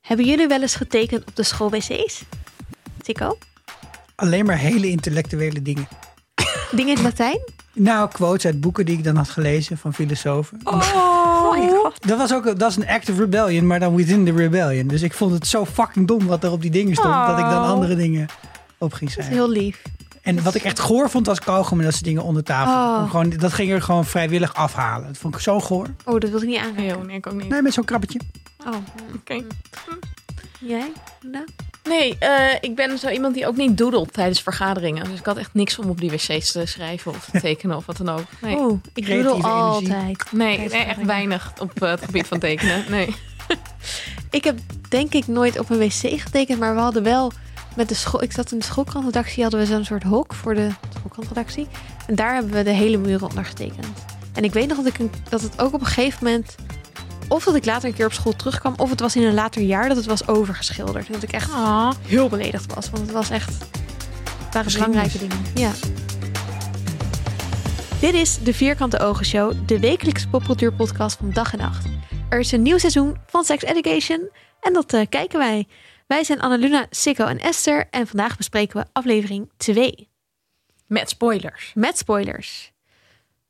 Hebben jullie wel eens getekend op de schoolwc's? Tico? Alleen maar hele intellectuele dingen. Dingen in het Latijn? Nou, quotes uit boeken die ik dan had gelezen van filosofen. Oh, mijn god. Dat was ook dat is een act of rebellion, maar dan within the rebellion. Dus ik vond het zo fucking dom wat er op die dingen stond, dat ik dan Oh. andere dingen op ging Dat is schrijven. heel lief. En wat ik echt goor vond was kauwgom en dat soort dingen onder tafel. Oh. Om Gewoon, dat ging er gewoon vrijwillig afhalen. Dat vond ik zo goor. Oh, dat wil ik niet aanraken. Nee, joh, nee, ik ook niet. Nee, met zo'n krabbetje. Oh, Oké. jij? Nou, Nee, eh, ik ben zo iemand die ook niet doodelt tijdens vergaderingen. Dus ik had echt niks om op die wc's te schrijven of te tekenen of wat dan ook. Nee, Oeh, Oh, ik Creatieve doodle energie. altijd. nee, Tijdens nee, echt vergaderingen. weinig op eh, het gebied van tekenen. Nee. Ik heb denk ik nooit op een wc getekend, maar we hadden wel met de school. Ik zat in de schoolkrantredactie, hadden we zo'n soort hok voor de schoolkrantredactie. En daar hebben we de hele muren onder getekend. En ik weet nog dat, ik een- dat het ook op een gegeven moment. Of dat ik later een keer op school terugkwam, of het was in een later jaar dat het was overgeschilderd. En dat ik echt Ah. heel beledigd was, want het was echt. Het waren belangrijke dingen. Ja. Dit is de Vierkante Ogen Show, de wekelijkse popcultuurpodcast van dag en nacht. Er is een nieuw seizoen van Sex Education en dat eh, kijken wij. Wij zijn Annaluna, Sikko en Esther en vandaag bespreken we aflevering 2 Met spoilers. met spoilers.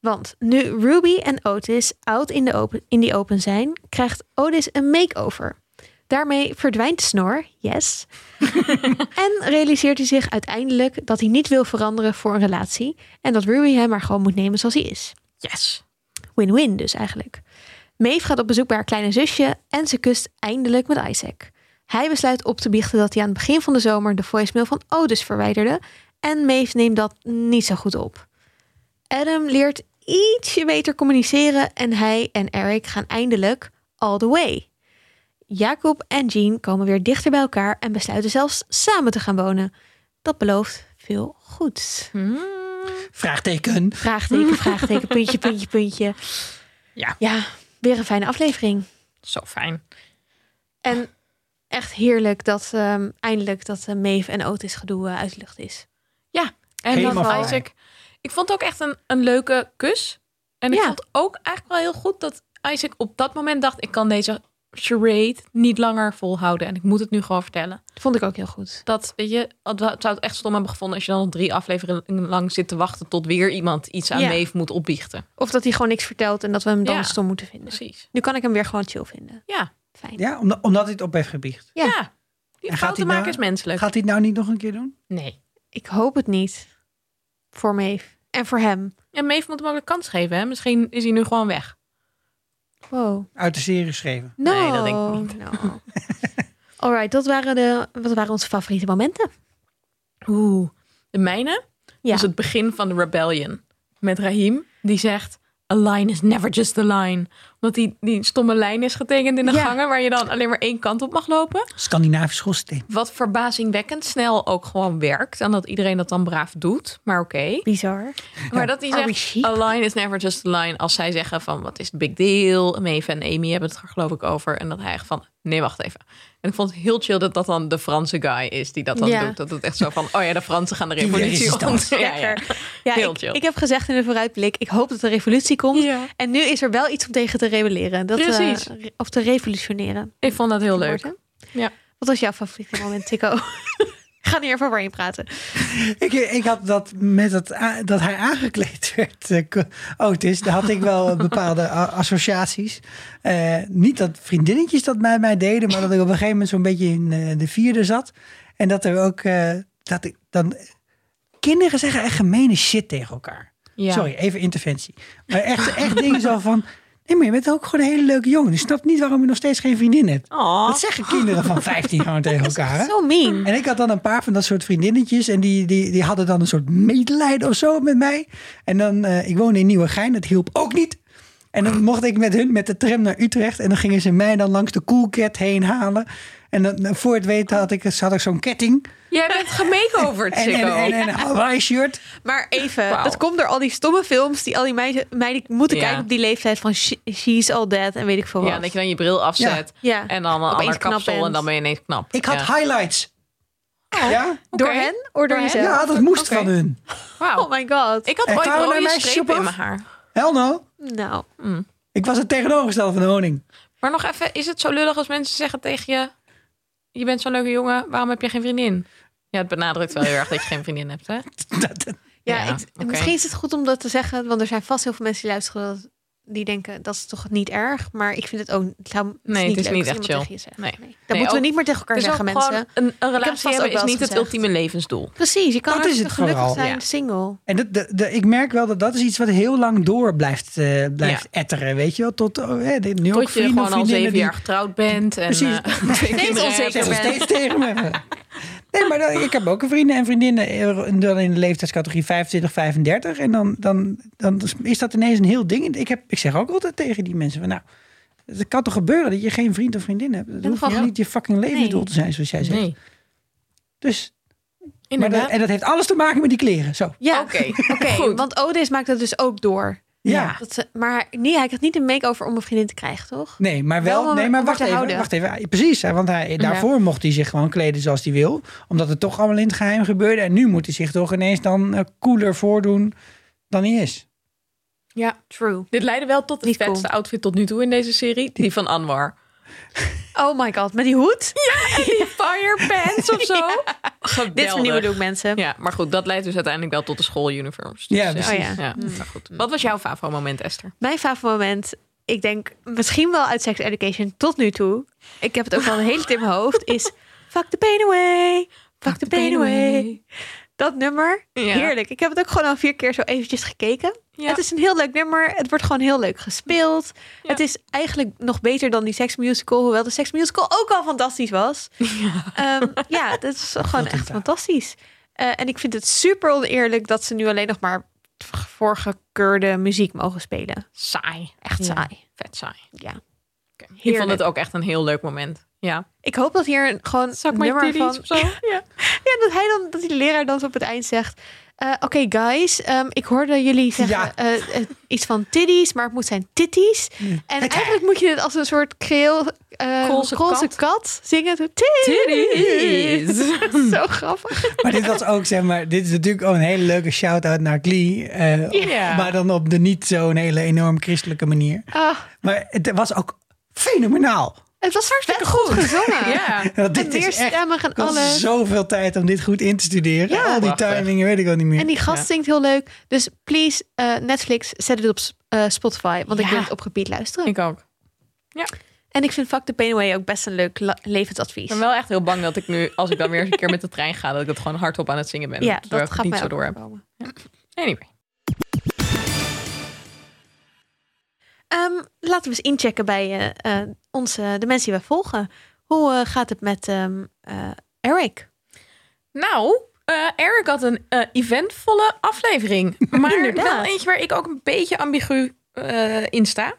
Want nu Ruby en Otis oud in, de open, in die open zijn, krijgt Otis een makeover. Daarmee verdwijnt de snor, yes. en realiseert hij zich uiteindelijk dat hij niet wil veranderen voor een relatie. En dat Ruby hem maar gewoon moet nemen zoals hij is. Yes. Win-win dus eigenlijk. Maeve gaat op bezoek bij haar kleine zusje en ze kust eindelijk met Isaac. Hij besluit op te biechten dat hij aan het begin van de zomer de voicemail van Otis verwijderde en Maeve neemt dat niet zo goed op. Adam leert ietsje beter communiceren en hij en Eric gaan eindelijk all the way. Jacob en Jean komen weer dichter bij elkaar en besluiten zelfs samen te gaan wonen. Dat belooft veel goeds. Hmm. Vraagteken. Vraagteken, vraagteken, puntje, puntje, puntje. Ja. Ja, weer een fijne aflevering. Zo fijn. En echt heerlijk dat ehm, eindelijk dat eh, Maeve en Otis gedoe eh, uit de lucht is. En Helemaal dan fijn. Isaac. Ik vond ook echt een, een leuke kus. En ik Ja. vond ook eigenlijk wel heel goed dat Isaac op dat moment dacht... ik kan deze charade niet langer volhouden. En ik moet het nu gewoon vertellen. Dat vond ik ook heel goed. Dat, weet je, het wa- het zou het echt stom hebben gevonden als je dan nog drie afleveringen lang zit te wachten tot weer iemand iets aan Ja. Maeve moet opbiechten. Of dat hij gewoon niks vertelt en dat we hem dan Ja. stom moeten vinden. Precies. Nu kan ik hem weer gewoon chill vinden. Ja. Fijn. Ja, omdat, omdat hij het op heeft gebiecht. Ja. Ja. Die En gaat fouten hij maken nou- is menselijk. Gaat hij het nou niet nog een keer doen? Nee. Ik hoop het niet. Voor Maeve. En voor hem. En Maeve moet hem ook een kans geven. Hè? Misschien is hij nu gewoon weg. Wow. Uit de serie geschreven. No. Nee, dat denk ik niet. No. Alright, dat waren, de, wat waren onze favoriete momenten. Oeh. De mijne Ja. was het begin van de Rebellion. Met Rahim. Die zegt, a line is never just a line. Omdat die, die stomme lijn is getekend in de Ja. gangen... waar je dan alleen maar één kant op mag lopen. Scandinavisch schoolsysteem. Wat verbazingwekkend snel ook gewoon werkt. En dat iedereen dat dan braaf doet. Maar oké. Bizar. Maar dat hij Are we zegt, sheep? a line is never just a line. Als zij zeggen van, wat is the big deal? Maeve en Amy hebben het er geloof ik over. En dat hij echt van, nee, wacht even. En ik vond het heel chill dat dat dan de Franse guy is die dat dan Ja. doet. Dat het echt zo van, oh ja, de Fransen gaan de Die revolutie resistance. ontzetten. Ja, ja. Lekker. Ja, Heel ik, chill. ik heb gezegd in de vooruitblik, ik hoop dat er revolutie komt. Ja. En nu is er wel iets om tegen te rebelleren. Dat, eh, Precies. re- of te revolutioneren. Ik vond dat heel leuk. Woord, hè? Ja. Wat was jouw favoriete moment, Tico? Ik Ga niet even over je praten. Ik, ik had dat met dat, a- dat hij aangekleed werd, eh, ko- Otis. Daar had ik wel bepaalde a- associaties. Eh, niet dat vriendinnetjes dat bij mij deden, maar dat ik op een gegeven moment zo'n beetje in eh, de vierde zat. En dat er ook, eh, dat ik dan, kinderen zeggen echt gemene shit tegen elkaar. Ja. Sorry, even interventie. Maar echt, echt dingen zo van, nee maar je bent ook gewoon een hele leuke jongen. Je snapt niet waarom je nog steeds geen vriendin hebt. Aw. Dat zeggen kinderen van 15 gewoon tegen elkaar. hè? Zo mean. En ik had dan een paar van dat soort vriendinnetjes. En die, die, die hadden dan een soort medelijden of zo met mij. En dan, eh, ik woonde in Nieuwegein. Dat hielp ook niet. En dan mocht ik met hun met de tram naar Utrecht. En dan gingen ze mij dan langs de Coolcat heen halen. En dan, eh, voor het weten had ik, had ik zo'n ketting. Jij bent gemakeoverd, En, en, Sikko. en, en een Hawaii shirt. Maar even, Wauw. dat komt door al die stomme films die al die meiden, meiden moeten Ja. kijken op die leeftijd van she- She's All Dead en weet ik veel wat. Ja, dat je dan je bril afzet. Ja. En dan een Opeens ander knap kapsel. bent. En dan ben je ineens knap. Ik had Ja. highlights. Ja? Door Oké. hen of door hen? jezelf? ja, dat moest Oké. van hun. Wauw. Oh my god. Ik had En ooit kwamen er rode meisjes strepen op in af? mijn haar. Hell no. Nou, Ik was het tegenovergestelde van de honing. Maar nog even, is het zo lullig als mensen zeggen tegen je... je bent zo'n leuke jongen, waarom heb je geen vriendin? Ja, het benadrukt wel heel erg dat je geen vriendin hebt, hè? Dat- dat- Ja, Ja, ik- oké. misschien is het goed om dat te zeggen, want er zijn vast heel veel mensen die luisteren dat- die denken dat is toch niet erg, maar ik vind het ook het zou- het Nee, het is leuk niet als echt iemand chill. tegen je zegt. Nee. Dat Nee, moeten we ook- niet meer tegen elkaar Het is zeggen, ook mensen. gewoon een, een vast relatie ook hebben wel is eens niet het gezegd. ultieme levensdoel. Precies, je kan Dat ook is het gelukkig vooral. zijn Ja. single. En dat, dat- dat- ik merk wel dat dat is iets wat heel lang door blijft, eh, blijft Ja. etteren. Weet je wel, tot oh, hè, dit- nu ook Tot je vrienden, gewoon vriendinnen al zeven die- jaar getrouwd bent. En, Precies. eh, twee kinderen hebt. onzeker Zeg nog bent. steeds tegen me. Nee, maar dan- ik heb ook een vrienden en vriendinnen eh, dan in de leeftijdscategorie 25, 35. En dan, dan, dan is dat ineens een heel ding. Ik, heb, ik zeg ook altijd tegen die mensen van nou, het kan toch gebeuren dat je geen vriend of vriendin hebt. Dat Dat hoeft toch kan. niet je fucking levensdoel te zijn, zoals jij zegt. Nee, Dus, maar dat, inderdaad. en dat heeft alles te maken met die kleren. Zo. Ja, Oké, oké. goed. Want Otis maakt dat dus ook door. Ja. Ja. Dat ze, maar nee, hij krijgt niet een make-over om een vriendin te krijgen, toch? Nee, maar Wel wel. om Nee, te maar wacht even, houden. Mhm. wacht even. Ah, Precies, hè, want hij, daarvoor mocht hij zich gewoon kleden zoals hij wil. Omdat het toch allemaal in het geheim gebeurde. En nu moet hij zich toch ineens dan eh, cooler voordoen dan hij is. ja. True. Dit leidde wel tot het Niet cool. vetste outfit tot nu toe in deze serie. Die van Anwar. Oh my god, met die hoed? Die fire pants of zo. Geweldig. Dit is mijn nieuwe look, mensen. Ja, maar goed, dat leidt dus uiteindelijk wel tot de schooluniforms. Ja, Dus, precies. Oh ja. maar goed. Wat was jouw favo-moment, Esther? Mijn favoriete moment, ik denk misschien wel uit Sex Education tot nu toe. Ik heb het ook al een hele tijd in mijn hoofd. Is fuck the pain away, fuck the pain away. Dat nummer, Ja. heerlijk. Ik heb het ook gewoon al vier keer zo eventjes gekeken. Ja. Het is een heel leuk nummer. Het wordt gewoon heel leuk gespeeld. Ja. Het is eigenlijk nog beter dan die Sex Musical. Hoewel de Sex Musical ook al fantastisch was. Ja, ja dat is gewoon Dat echt is waar. fantastisch. Eh, en ik vind het super oneerlijk dat ze nu alleen nog maar voorgekeurde muziek mogen spelen. Saai. Echt Ja. saai. Vet saai. Ja. Oké. Ik Heerlijk. vond het ook echt een heel leuk moment. Ja. Ik hoop dat hier een- gewoon een nummer van... zo. Ja. Ja, dat hij dan, dat die leraar dan zo op het eind zegt... eh, Oké, guys, ehm, ik hoorde jullie zeggen Ja. eh, eh, iets van titties, maar het moet zijn titties. En eigenlijk moet je dit als een soort kreel, eh Koolse koolse kat. kat. zingen. Zo, Titties! Dat is zo grappig. Maar dit was ook, zeg maar, dit is natuurlijk ook een hele leuke shout-out naar Glee. eh, Ja. Maar dan op de niet zo'n hele enorm christelijke manier. Ah, Maar het was ook fenomenaal. het was hartstikke goed gezongen. ja. Want En dit is echt, meerstemmig en ik had alles. zoveel tijd om dit goed in te studeren. Ja. Al die Prachtig. timingen weet ik al niet meer. En die gast Ja. zingt heel leuk. Dus please, eh, Netflix, zet het op s- eh, Spotify. Want ik Ja. wil het op repeat luisteren. Ik ook. En ik vind Fuck the Pain Away ook best een leuk la- levensadvies. Ik ben wel echt heel bang dat ik nu, als ik dan weer eens een keer met de trein ga, dat ik dat gewoon hardop aan het zingen ben. ja, terwijl dat ik het gaat niet mij zo ook door heb. overkomen. Anyway. Ehm, laten we eens inchecken bij eh, eh, onze, de mensen die wij volgen. Hoe eh, gaat het met ehm, eh, Eric? Nou, eh, Eric had een eh, eventvolle aflevering. Maar Inderdaad. wel eentje waar ik ook een beetje ambigu eh, in sta.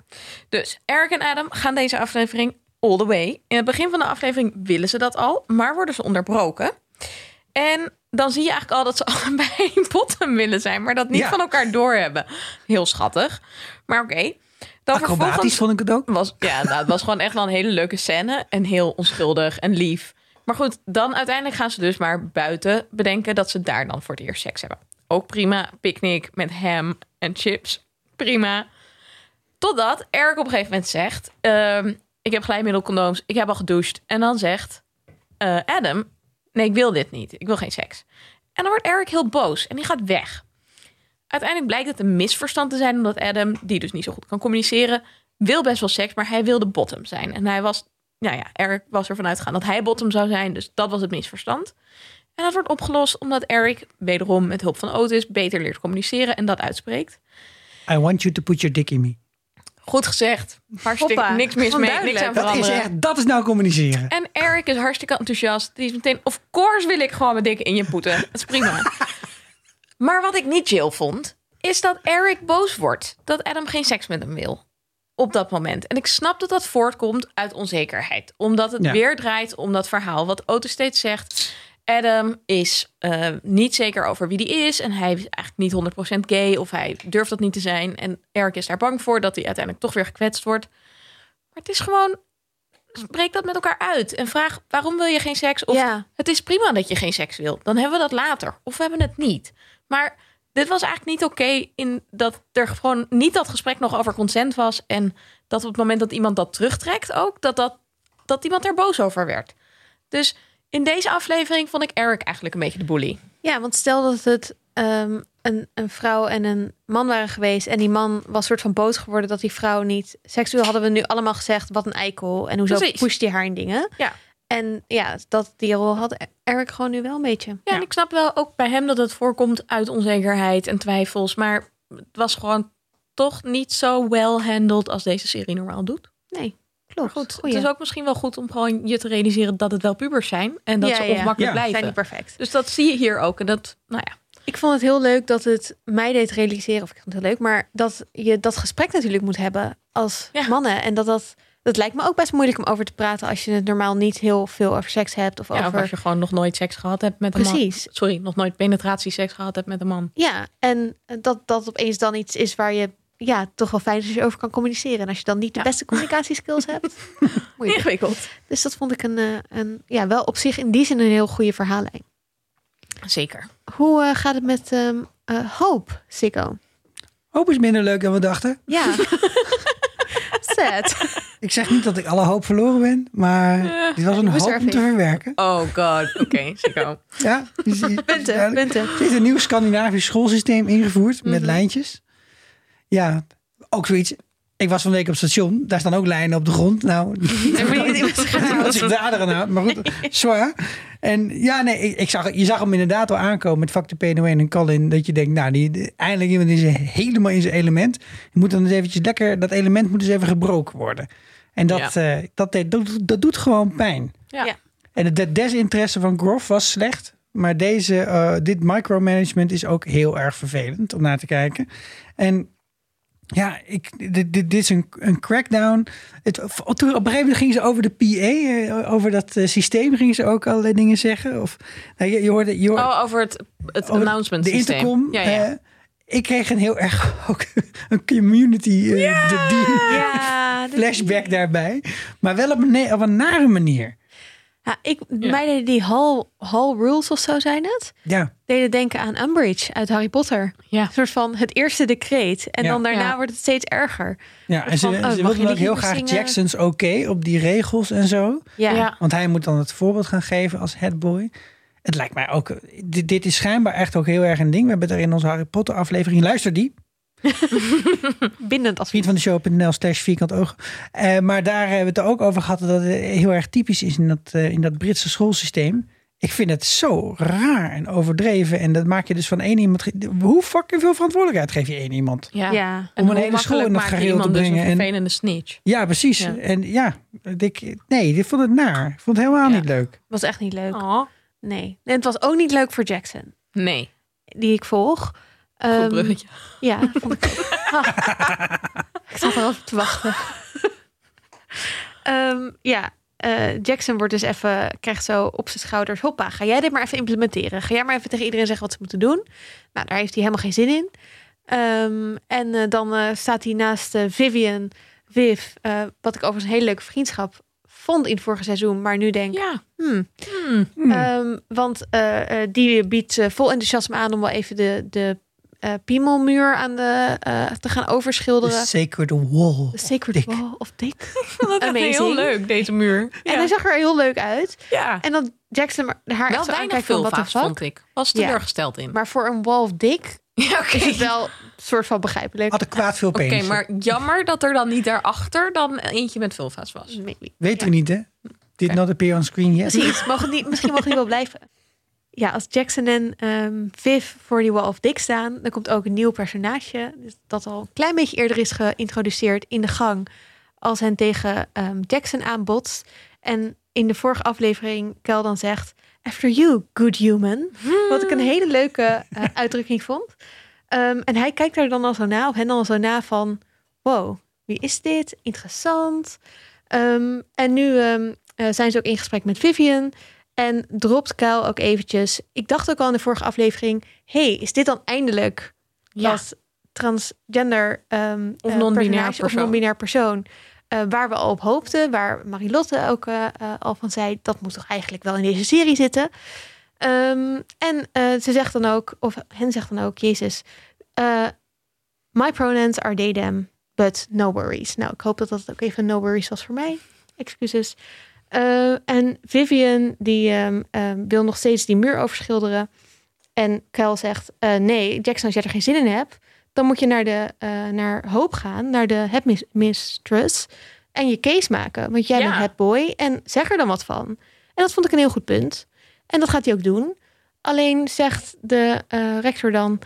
Dus Eric en Adam gaan deze aflevering all the way. In het begin van de aflevering willen ze dat al, maar worden ze onderbroken. En dan zie je eigenlijk al dat ze allebei in Bottom willen zijn, maar dat niet Ja. van elkaar doorhebben. Heel schattig. Maar oké. Dan Acrobatisch vervolgens- vond ik het ook. was, ja, nou, het was gewoon echt wel een hele leuke scène. En heel onschuldig en lief. Maar goed, dan uiteindelijk gaan ze dus maar buiten bedenken dat ze daar dan voor het eerst seks hebben. Ook prima. Picknick met ham en chips. Prima. Totdat Eric op een gegeven moment zegt: ehm, Ik heb glijmiddelcondooms, ik heb al gedoucht. En dan zegt eh, Adam: Nee, ik wil dit niet. Ik wil geen seks. En dan wordt Eric heel boos en die gaat weg. Uiteindelijk blijkt het een misverstand te zijn, omdat Adam, die dus niet zo goed kan communiceren, wil best wel seks, maar hij wilde bottom zijn. En hij was, nou ja, Eric was ervan uitgegaan dat hij bottom zou zijn, dus dat was het misverstand. En dat wordt opgelost omdat Eric, wederom met hulp van Otis, beter leert communiceren en dat uitspreekt. I want you to put your dick in me. Goed gezegd. Hartstikke Hoppa, niks mis mee, onduidelijk. niks aan Dat is, veranderen. echt, dat is nou communiceren. En Eric is hartstikke enthousiast. Die is meteen, of course wil ik gewoon mijn dik in je poeten. Dat is prima. maar wat ik niet chill vond, is dat Eric boos wordt. Dat Adam geen seks met hem wil. Op dat moment. En ik snap dat dat voortkomt uit onzekerheid. Omdat het Ja. weer draait om dat verhaal wat Otto steeds zegt. Adam is eh, niet zeker over wie die is. En hij is eigenlijk niet 100% gay. Of hij durft dat niet te zijn. En Eric is daar bang voor dat hij uiteindelijk toch weer gekwetst wordt. Maar het is gewoon spreek dat met elkaar uit en vraag waarom wil je geen seks? Of Ja. het is prima dat je geen seks wil. Dan hebben we dat later. Of we hebben het niet. Maar dit was eigenlijk niet oké in dat er gewoon niet dat gesprek nog over consent was en dat op het moment dat iemand dat terugtrekt ook dat dat dat iemand er boos over werd. Dus in deze aflevering vond ik Eric eigenlijk een beetje de bully. Ja, want stel dat het ehm, een, een vrouw en een man waren geweest. En die man was soort van boos geworden dat die vrouw niet seksueel hadden we nu allemaal gezegd. Wat een eikel. En hoezo Precies. pusht hij haar in dingen. Ja. En ja, dat die rol had Eric gewoon nu wel een beetje. Ja, Ja. en ik snap wel ook bij hem dat het voorkomt uit onzekerheid en twijfels. Maar het was gewoon toch niet zo well handled als deze serie normaal doet. Nee, Maar klopt. goed, Goeie. het is ook misschien wel goed om gewoon je te realiseren dat het wel pubers zijn. En dat Ja, ze ja. Ja. ongemakkelijk zijn niet blijven. perfect. Dus dat zie je hier ook. En dat, nou ja. Ik vond het heel leuk dat het mij deed realiseren, of ik vond het heel leuk, maar dat je dat gesprek natuurlijk moet hebben als Ja. mannen. En dat dat, dat lijkt me ook best moeilijk om over te praten als je het normaal niet heel veel over seks hebt of ja, of over... als je gewoon nog nooit seks gehad hebt met een man. Precies. Sorry, nog nooit penetratieseks gehad hebt met een man. Ja, en dat dat opeens dan iets is waar je ja, toch wel fijn is als je over kan communiceren. En als je dan niet de Ja. beste communicatieskills hebt. moeilijk. Ingewikkeld. Dus dat vond ik een, eh, een, ja, wel op zich in die zin een heel goede verhaallijn. Zeker. Hoe eh, gaat het met ehm eh, Hope, Sikko? Hoop is minder leuk dan we dachten. Ja. Sad. Ik zeg niet dat ik alle hoop verloren ben, maar dit was een moest hoop er om te even- verwerken. Oh god, oké. zeker. Ja, die is- die is Punten, duidelijk. punten. Er is een nieuw Scandinavisch schoolsysteem ingevoerd met Mhm. lijntjes. Ja, ook zoiets. Ik was van de week op het station, daar staan ook lijnen op de grond. Nou, En wie- die mensen gaan wat zich daar eraan houdt, maar goed, zwaar. En ja, nee, ik, ik zag, je zag hem inderdaad al aankomen met Factor P01 en Colin. Dat je denkt, nou, die, die- eindelijk iemand is helemaal in zijn element. Je moet dan eens eventjes lekker, dat element moet eens even gebroken worden. En dat, eh, dat, deed- dat, dat doet gewoon pijn. Ja. Ja. En de desinteresse van Groff was slecht. Maar deze, eh, dit micromanagement is ook heel erg vervelend om naar te kijken. En ja, ik, dit, dit, dit is een, een crackdown. Het, toen op een gegeven moment gingen ze over de PA, eh, over dat eh, systeem, gingen ze ook allerlei dingen zeggen. Of, nou, je, je hoorde, je hoorde- Oh, over het, het over announcement de systeem. intercom. Ja, ja. eh, ik kreeg een heel erg ook een community eh, de- die Ja, dit- flashback daarbij. Maar wel op een, ne- op een nare manier. Ja, ik, mij deden die hall, hall rules of zo zijn het. Ja. Deden denken aan Umbridge uit Harry Potter. ja. Een soort van het eerste decreet. En Ja. dan daarna Ja. wordt het steeds erger. Ja, en ze, van, oh, ze mag je wilden dit ook niet heel meer graag zingen? Jacksons oké op die regels en zo. Ja. Ja. Want hij moet dan het voorbeeld gaan geven als headboy. Het lijkt mij ook... Dit, dit is schijnbaar echt ook heel erg een ding. We hebben het er in onze Harry Potter aflevering... Luister die, Bindend advies. vriend van de show.nl slash vierkant oog. Eh, maar daar hebben we het ook over gehad dat het heel erg typisch is in dat, eh, in dat Britse schoolsysteem. Ik vind het zo raar en overdreven. En dat maak je dus van één iemand... ge- Hoe fucking veel verantwoordelijkheid geef je één iemand? Ja. Ja. Om een hoe hele school in het makkelijk maak je gareel te iemand brengen Dus en- een vervelende snitch. Ja, precies. Ja. En ja, ik, nee, ik vond het naar. Ik vond het helemaal Ja. niet leuk. Was echt niet leuk. Oh. Nee. En het was ook niet leuk voor Jackson, Nee. die ik volg. Goed Ehm, bruggetje. ja, vond ik. Ah. ik zat erop te wachten. Ehm, ja, eh, Jackson wordt dus even, krijgt zo op zijn schouders: hoppa, ga jij dit maar even implementeren? Ga jij maar even tegen iedereen zeggen wat ze moeten doen? Nou, daar heeft hij helemaal geen zin in. Ehm, en eh, dan eh, staat hij naast eh, Vivian, Viv, eh, wat ik overigens een hele leuke vriendschap vond in het vorige seizoen, maar nu denk Ja. hmm, Hmm. Hmm. Ehm, want eh, eh, die biedt eh, vol enthousiasme aan om wel even de, de eh, piemelmuur aan de, eh, te gaan De overschilderen. Sacred Wall. The Sacred Dik. Wall of Dick. Dat is Amazing. heel leuk, deze muur. Ja. En hij zag er heel leuk uit. ja. En dat Jackson maar- haar Wel echt zo weinig aankijkt van wat de vulva's, fuck. vond ik. Was Ja. teleurgesteld in. Maar voor een wall of dick Ja, oké. is het wel een soort van begrijpelijk. Adequaat veel Oké, penis. maar jammer dat er dan niet daarachter dan eentje met vulva's was. Maybe. Weten we niet, hè? Did Oké. not appear on screen yet. Precies, mogen niet, misschien mogen die wel blijven. Ja, als Jackson en ehm, Viv voor die Wall of Dick staan, dan komt ook een nieuw personage. Dus dat al een klein beetje eerder is geïntroduceerd in de gang. Als hen tegen ehm, Jackson aanbotst. En in de vorige aflevering Kel dan zegt: After you, good human. Wat ik een hele leuke eh, uitdrukking vond. Ehm, en hij kijkt daar dan al zo na, of hen dan al zo na van: Wow, wie is dit? Interessant. Ehm, en nu ehm, eh, zijn ze ook in gesprek met Vivian. En dropt Kyle ook eventjes. Ik dacht ook al in de vorige aflevering. hey, is dit dan eindelijk dat transgender ehm, Of eh, non-binair personage of persoon. non-binair persoon. eh, waar we al op hoopten, waar Marilotte ook eh, eh, al van zei, dat moet toch eigenlijk wel in deze serie zitten. Ehm, en eh, ze zegt dan ook, of hen zegt dan ook, Jezus, eh, my pronouns are they them, but no worries. Nou, ik hoop dat dat ook even no worries was voor mij. Excuses. Eh, en En Vivian die ehm, ehm, wil nog steeds die muur overschilderen. En Kyle zegt, eh, nee, Jackson, als jij er geen zin in hebt, dan moet je naar, de, eh, naar Hope gaan, naar de headmistress. En je case maken, want jij Ja. bent headboy en zeg er dan wat van. En dat vond ik een heel goed punt. En dat gaat hij ook doen. Alleen zegt de eh, rector dan,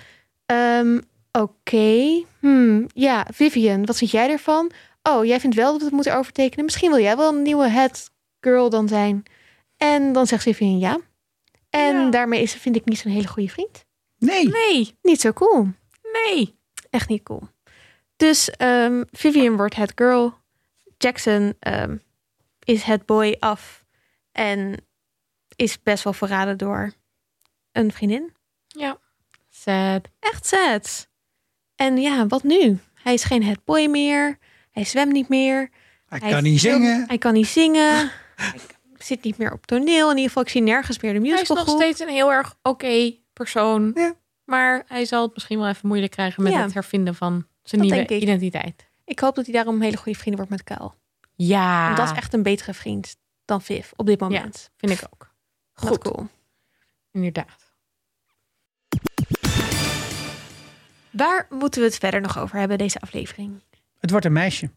ehm, oké, hmm, ja, Vivian, wat vind jij ervan? Oh, jij vindt wel dat we het moeten overtekenen. Misschien wil jij wel een nieuwe head girl dan zijn. En dan zegt Vivian ja. En Ja. daarmee is, vind ik niet zo'n hele goede vriend. Nee. Nee, Niet zo cool. nee. Echt niet cool. Dus ehm, Vivian wordt het girl. Jackson ehm, is het boy af. En is best wel verraden door een vriendin. Sad. Echt sad. En ja, wat nu? Hij is geen het boy meer. Hij zwemt niet meer. Hij Hij kan niet film- zingen. Hij kan niet zingen. hij zit niet meer op toneel. In ieder geval, ik zie nergens meer de Hij is musical nog steeds een heel erg oké persoon. Ja. Maar hij zal het misschien wel even moeilijk krijgen met Ja. het hervinden van zijn Dat denk nieuwe ik. identiteit. Ik hoop dat hij daarom een hele goede vrienden wordt met Kuil. Ja, Want dat is echt een betere vriend dan Viv op dit moment. vind ik ook. Goed. Goed. cool. Inderdaad. Waar moeten we het verder nog over hebben deze aflevering? Het wordt een meisje.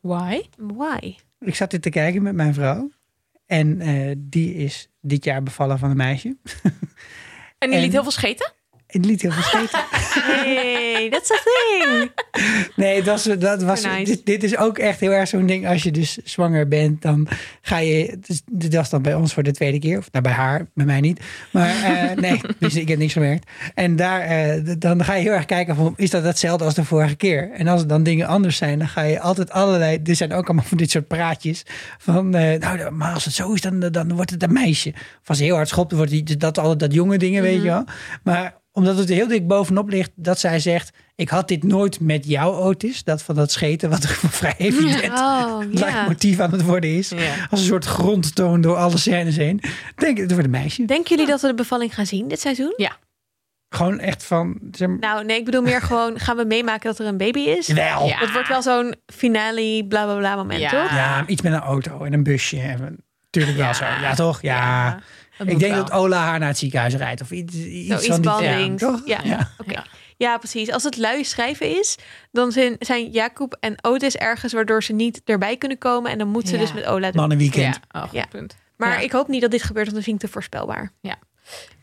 Why? Why? Ik zat dit te kijken met mijn vrouw. En eh, die is dit jaar bevallen van een meisje. En die En- liet heel veel scheten? En die liet heel veel scheten. Hey, that's a thing. Nee, dat, was- dat was, Nice. dit, dit is ook echt heel erg zo'n ding. Als je dus zwanger bent, dan ga je... Dus, dit was dan bij ons voor de tweede keer. Of nou, bij haar, bij mij niet. Maar eh, nee, dus ik heb niks gemerkt. En daar, eh, d- dan ga je heel erg kijken van... Is dat hetzelfde als de vorige keer? En als er dan dingen anders zijn, dan ga je altijd allerlei... Er zijn ook allemaal van dit soort praatjes. Van, eh, nou, maar als het zo is, dan, dan wordt het een meisje. Of als ze heel hard schopt, dan wordt die, dat, altijd dat jonge dingen, weet je wel. Maar omdat het heel dik bovenop ligt, dat zij zegt... Ik had dit nooit met jou, Otis. Dat van dat scheten, wat vrij evident Oh, ja. leidmotief aan het worden is. Ja. Als een soort grondtoon door alle scènes heen. Denk ik, het wordt een meisje. Denken jullie dat we de bevalling gaan zien dit seizoen? Gewoon echt van... Zeg maar, Nou, nee, ik bedoel meer gewoon... gaan we meemaken dat er een baby is? wel. Ja. Ja. Dat wordt wel zo'n finale bla bla bla moment, Ja. toch? maar iets met een auto en een busje. En, tuurlijk wel Ja. zo. Ja, toch? Ja. dat Ik moet denk wel. dat Ola haar naar het ziekenhuis rijdt. Of iets, iets Zoiets van die bandings. Ja, toch? Ja. Ja. Oké. Ja. Ja, precies. Als het lui schrijven is, dan zijn, zijn Jacob en Otis ergens waardoor ze niet erbij kunnen komen. En dan moeten ze Ja. dus met Ola doen. Mannenweekend. Ja, oh, goed Ja. punt. Maar Ja. ik hoop niet dat dit gebeurt, want dan vind ik te voorspelbaar.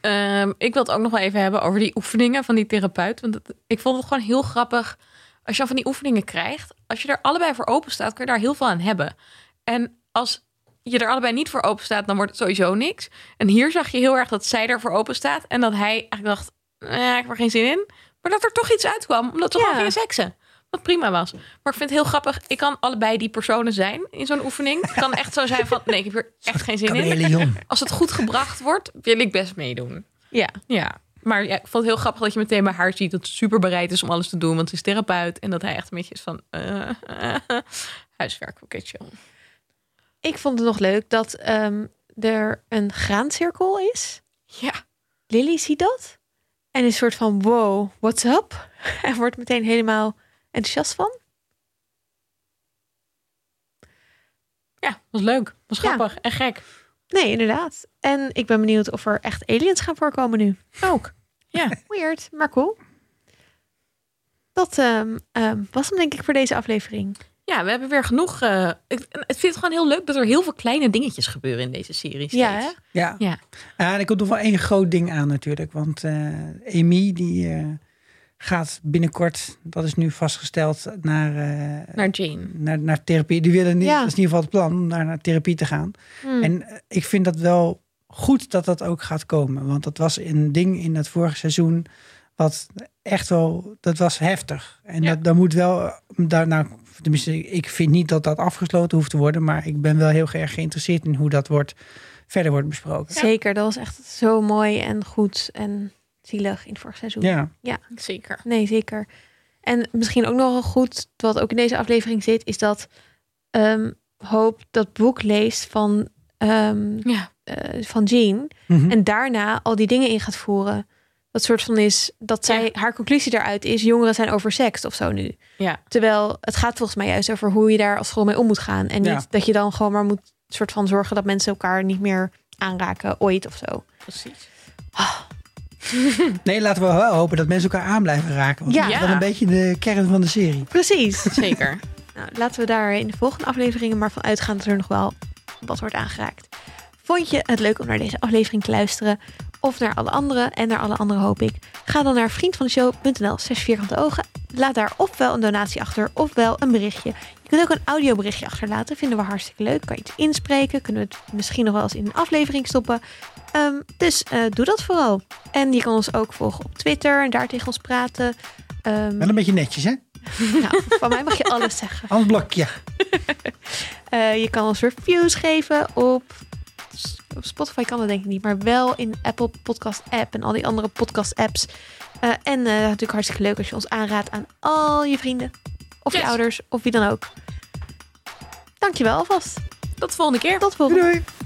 Ehm, ik wil het ook nog wel even hebben over die oefeningen van die therapeut. Want het- ik vond het gewoon heel grappig. Als je al van die oefeningen krijgt, als je er allebei voor open staat, kun je daar heel veel aan hebben. En als je er allebei niet voor open staat, dan wordt het sowieso niks. En hier zag je heel erg dat zij ervoor open staat en dat hij eigenlijk dacht: "Eh, ik heb er geen zin in. Maar dat er toch iets uitkwam, omdat ze Ja. gewoon gingen seksen. Wat prima was. Maar ik vind het heel grappig. Ik kan allebei die personen zijn in zo'n oefening. Het kan echt zo zijn van: nee, ik heb hier echt geen zin in Chameleon. als het goed gebracht wordt, wil ik best meedoen. Ja. Ja. Maar ja, ik vond het heel grappig dat je meteen bij haar ziet dat ze super bereid is om alles te doen. Want ze is therapeut. En dat hij echt een beetje is van eh, eh, huiswerk. Oké, chill. Ik vond het nog leuk dat ehm, er een graancirkel is. Ja. Lily ziet dat. En is een soort van wow, what's up? En wordt meteen helemaal enthousiast van. Ja, was leuk. Was Ja. grappig en gek. Nee, inderdaad. En ik ben benieuwd of er echt aliens gaan voorkomen nu. Ook. Ja. Weird, maar cool. Dat ehm, ehm, was hem denk ik voor deze aflevering. Ja, we hebben weer genoeg. eh, ik, ik vind het gewoon heel leuk dat er heel veel kleine dingetjes gebeuren in deze serie. Steeds. Ja, hè? Ja. Ja. Ja, en er komt nog wel één groot ding aan natuurlijk. Want eh Amy die eh, gaat binnenkort, dat is nu vastgesteld, naar, eh, Naar Jane. naar, naar therapie. Die willen niet, Ja. dat is in ieder geval het plan, om naar, naar therapie te gaan. Hmm. En eh, ik vind dat wel goed dat dat ook gaat komen. Want dat was een ding in dat vorige seizoen wat echt wel, dat was heftig. En Ja. dat, daar moet wel, daar, nou, tenminste, ik vind niet dat dat afgesloten hoeft te worden. Maar ik ben wel heel erg geïnteresseerd in hoe dat wordt, verder wordt besproken. Zeker, dat was echt zo mooi en goed en zielig in het vorig seizoen. Ja. Zeker. Nee, zeker. En misschien ook nog wel goed, wat ook in deze aflevering zit, is dat ehm, Hope dat boek leest van, ehm, Ja. eh, van Jean. Mhm. En daarna al die dingen in gaat voeren. Dat soort van is dat zij, haar conclusie daaruit is: jongeren zijn oversext of zo nu. Ja. Terwijl het gaat volgens mij juist over hoe je daar als school mee om moet gaan. En niet Ja. dat je dan gewoon maar moet soort van zorgen dat mensen elkaar niet meer aanraken ooit of zo. Precies. Nee, laten we wel hopen dat mensen elkaar aan blijven raken. Want Ja. dat is Ja. wel een beetje de kern van de serie. Precies. Zeker. Nou, laten we daar in de volgende afleveringen maar van uitgaan dat er nog wel wat wordt aangeraakt. Vond je het leuk om naar deze aflevering te luisteren? Of naar alle andere? En naar alle andere hoop ik. Ga dan naar vriendvandeshow.nl slash vierkante ogen. Laat daar ofwel een donatie achter, ofwel een berichtje. Je kunt ook een audioberichtje achterlaten. Vinden we hartstikke leuk. Kan je iets inspreken. Kunnen we het misschien nog wel eens in een aflevering stoppen. Ehm, dus eh, doe dat vooral. En je kan ons ook volgen op Twitter en daar tegen ons praten. Ehm, Wel een beetje netjes, hè? nou, van mij mag je alles zeggen. Anders blokje. Eh, je kan ons reviews geven op, op Spotify kan dat denk ik niet, maar wel in Apple Podcast app en al die andere podcast apps. Eh, en eh, natuurlijk hartstikke leuk als je ons aanraadt aan al je vrienden of je Yes. ouders of wie dan ook. Dankjewel alvast. Tot de volgende keer. Tot volgende. Doei. doei.